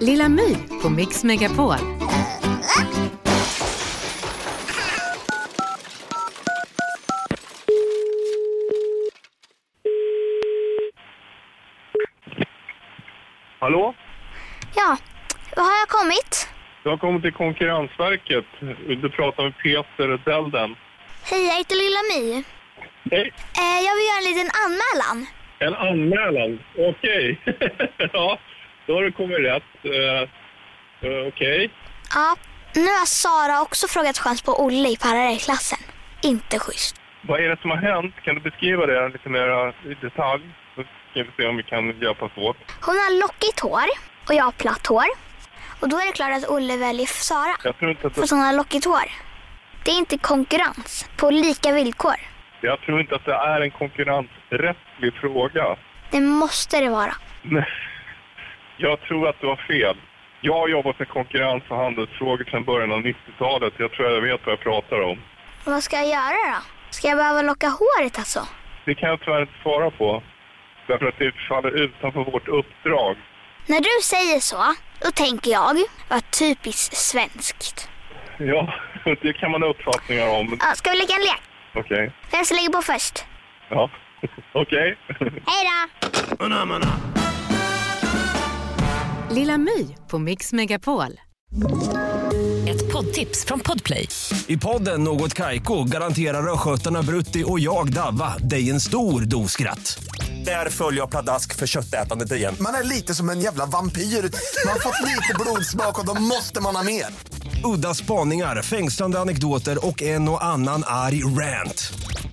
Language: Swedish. Lilla My på Mix Megapol. Hallå? Ja, var har jag kommit? Du har kommit till Konkurrensverket. Du pratar med Peter Delden. Hej, jag heter Lilla My. Hej. Eh, jag vill göra en liten anmälan. En anmälan? Okej. ja, då har du kommit rätt. Eh, eh, Okej. Ja, nu har Sara också frågat chans på Olle i parallellklassen. Inte schysst. Vad är det som har hänt? Kan du beskriva det lite mer eh, i detalj? Så ska vi se om vi kan hjälpas åt. Hon har lockigt hår och jag har platt hår. Och då är det klart att Olle väljer Sara. Jag tror inte att, För att hon har lockigt hår. Det är inte konkurrens på lika villkor. jag tror inte att det är en konkurrensrättslig fråga. Det måste det vara. Nej, Jag tror att du har fel. Jag har jobbat med konkurrens och handelsfrågor sedan början av 90-talet. Jag tror jag vet vad jag pratar om. Vad ska jag göra då? Ska jag behöva locka håret alltså? Det kan jag tyvärr inte svara på. Därför att det faller utanför vårt uppdrag. När du säger så, då tänker jag vad typiskt svenskt. Ja, det kan man ha uppfattningar om. Ja, ska vi leka en lek? Okej. Vem som lägger på först? Ja. Okej. Hej då! Lilla My på Mix Megapol. Ett poddtips från Podplay. I podden Något Kaiko garanterar östgötarna Brutti och jag, Davva, dig en stor dos skratt. Där följer jag pladask för köttätandet igen. Man är lite som en jävla vampyr. Man har fått lite blodsmak och då måste man ha mer. Udda spaningar, fängslande anekdoter och en och annan arg rant.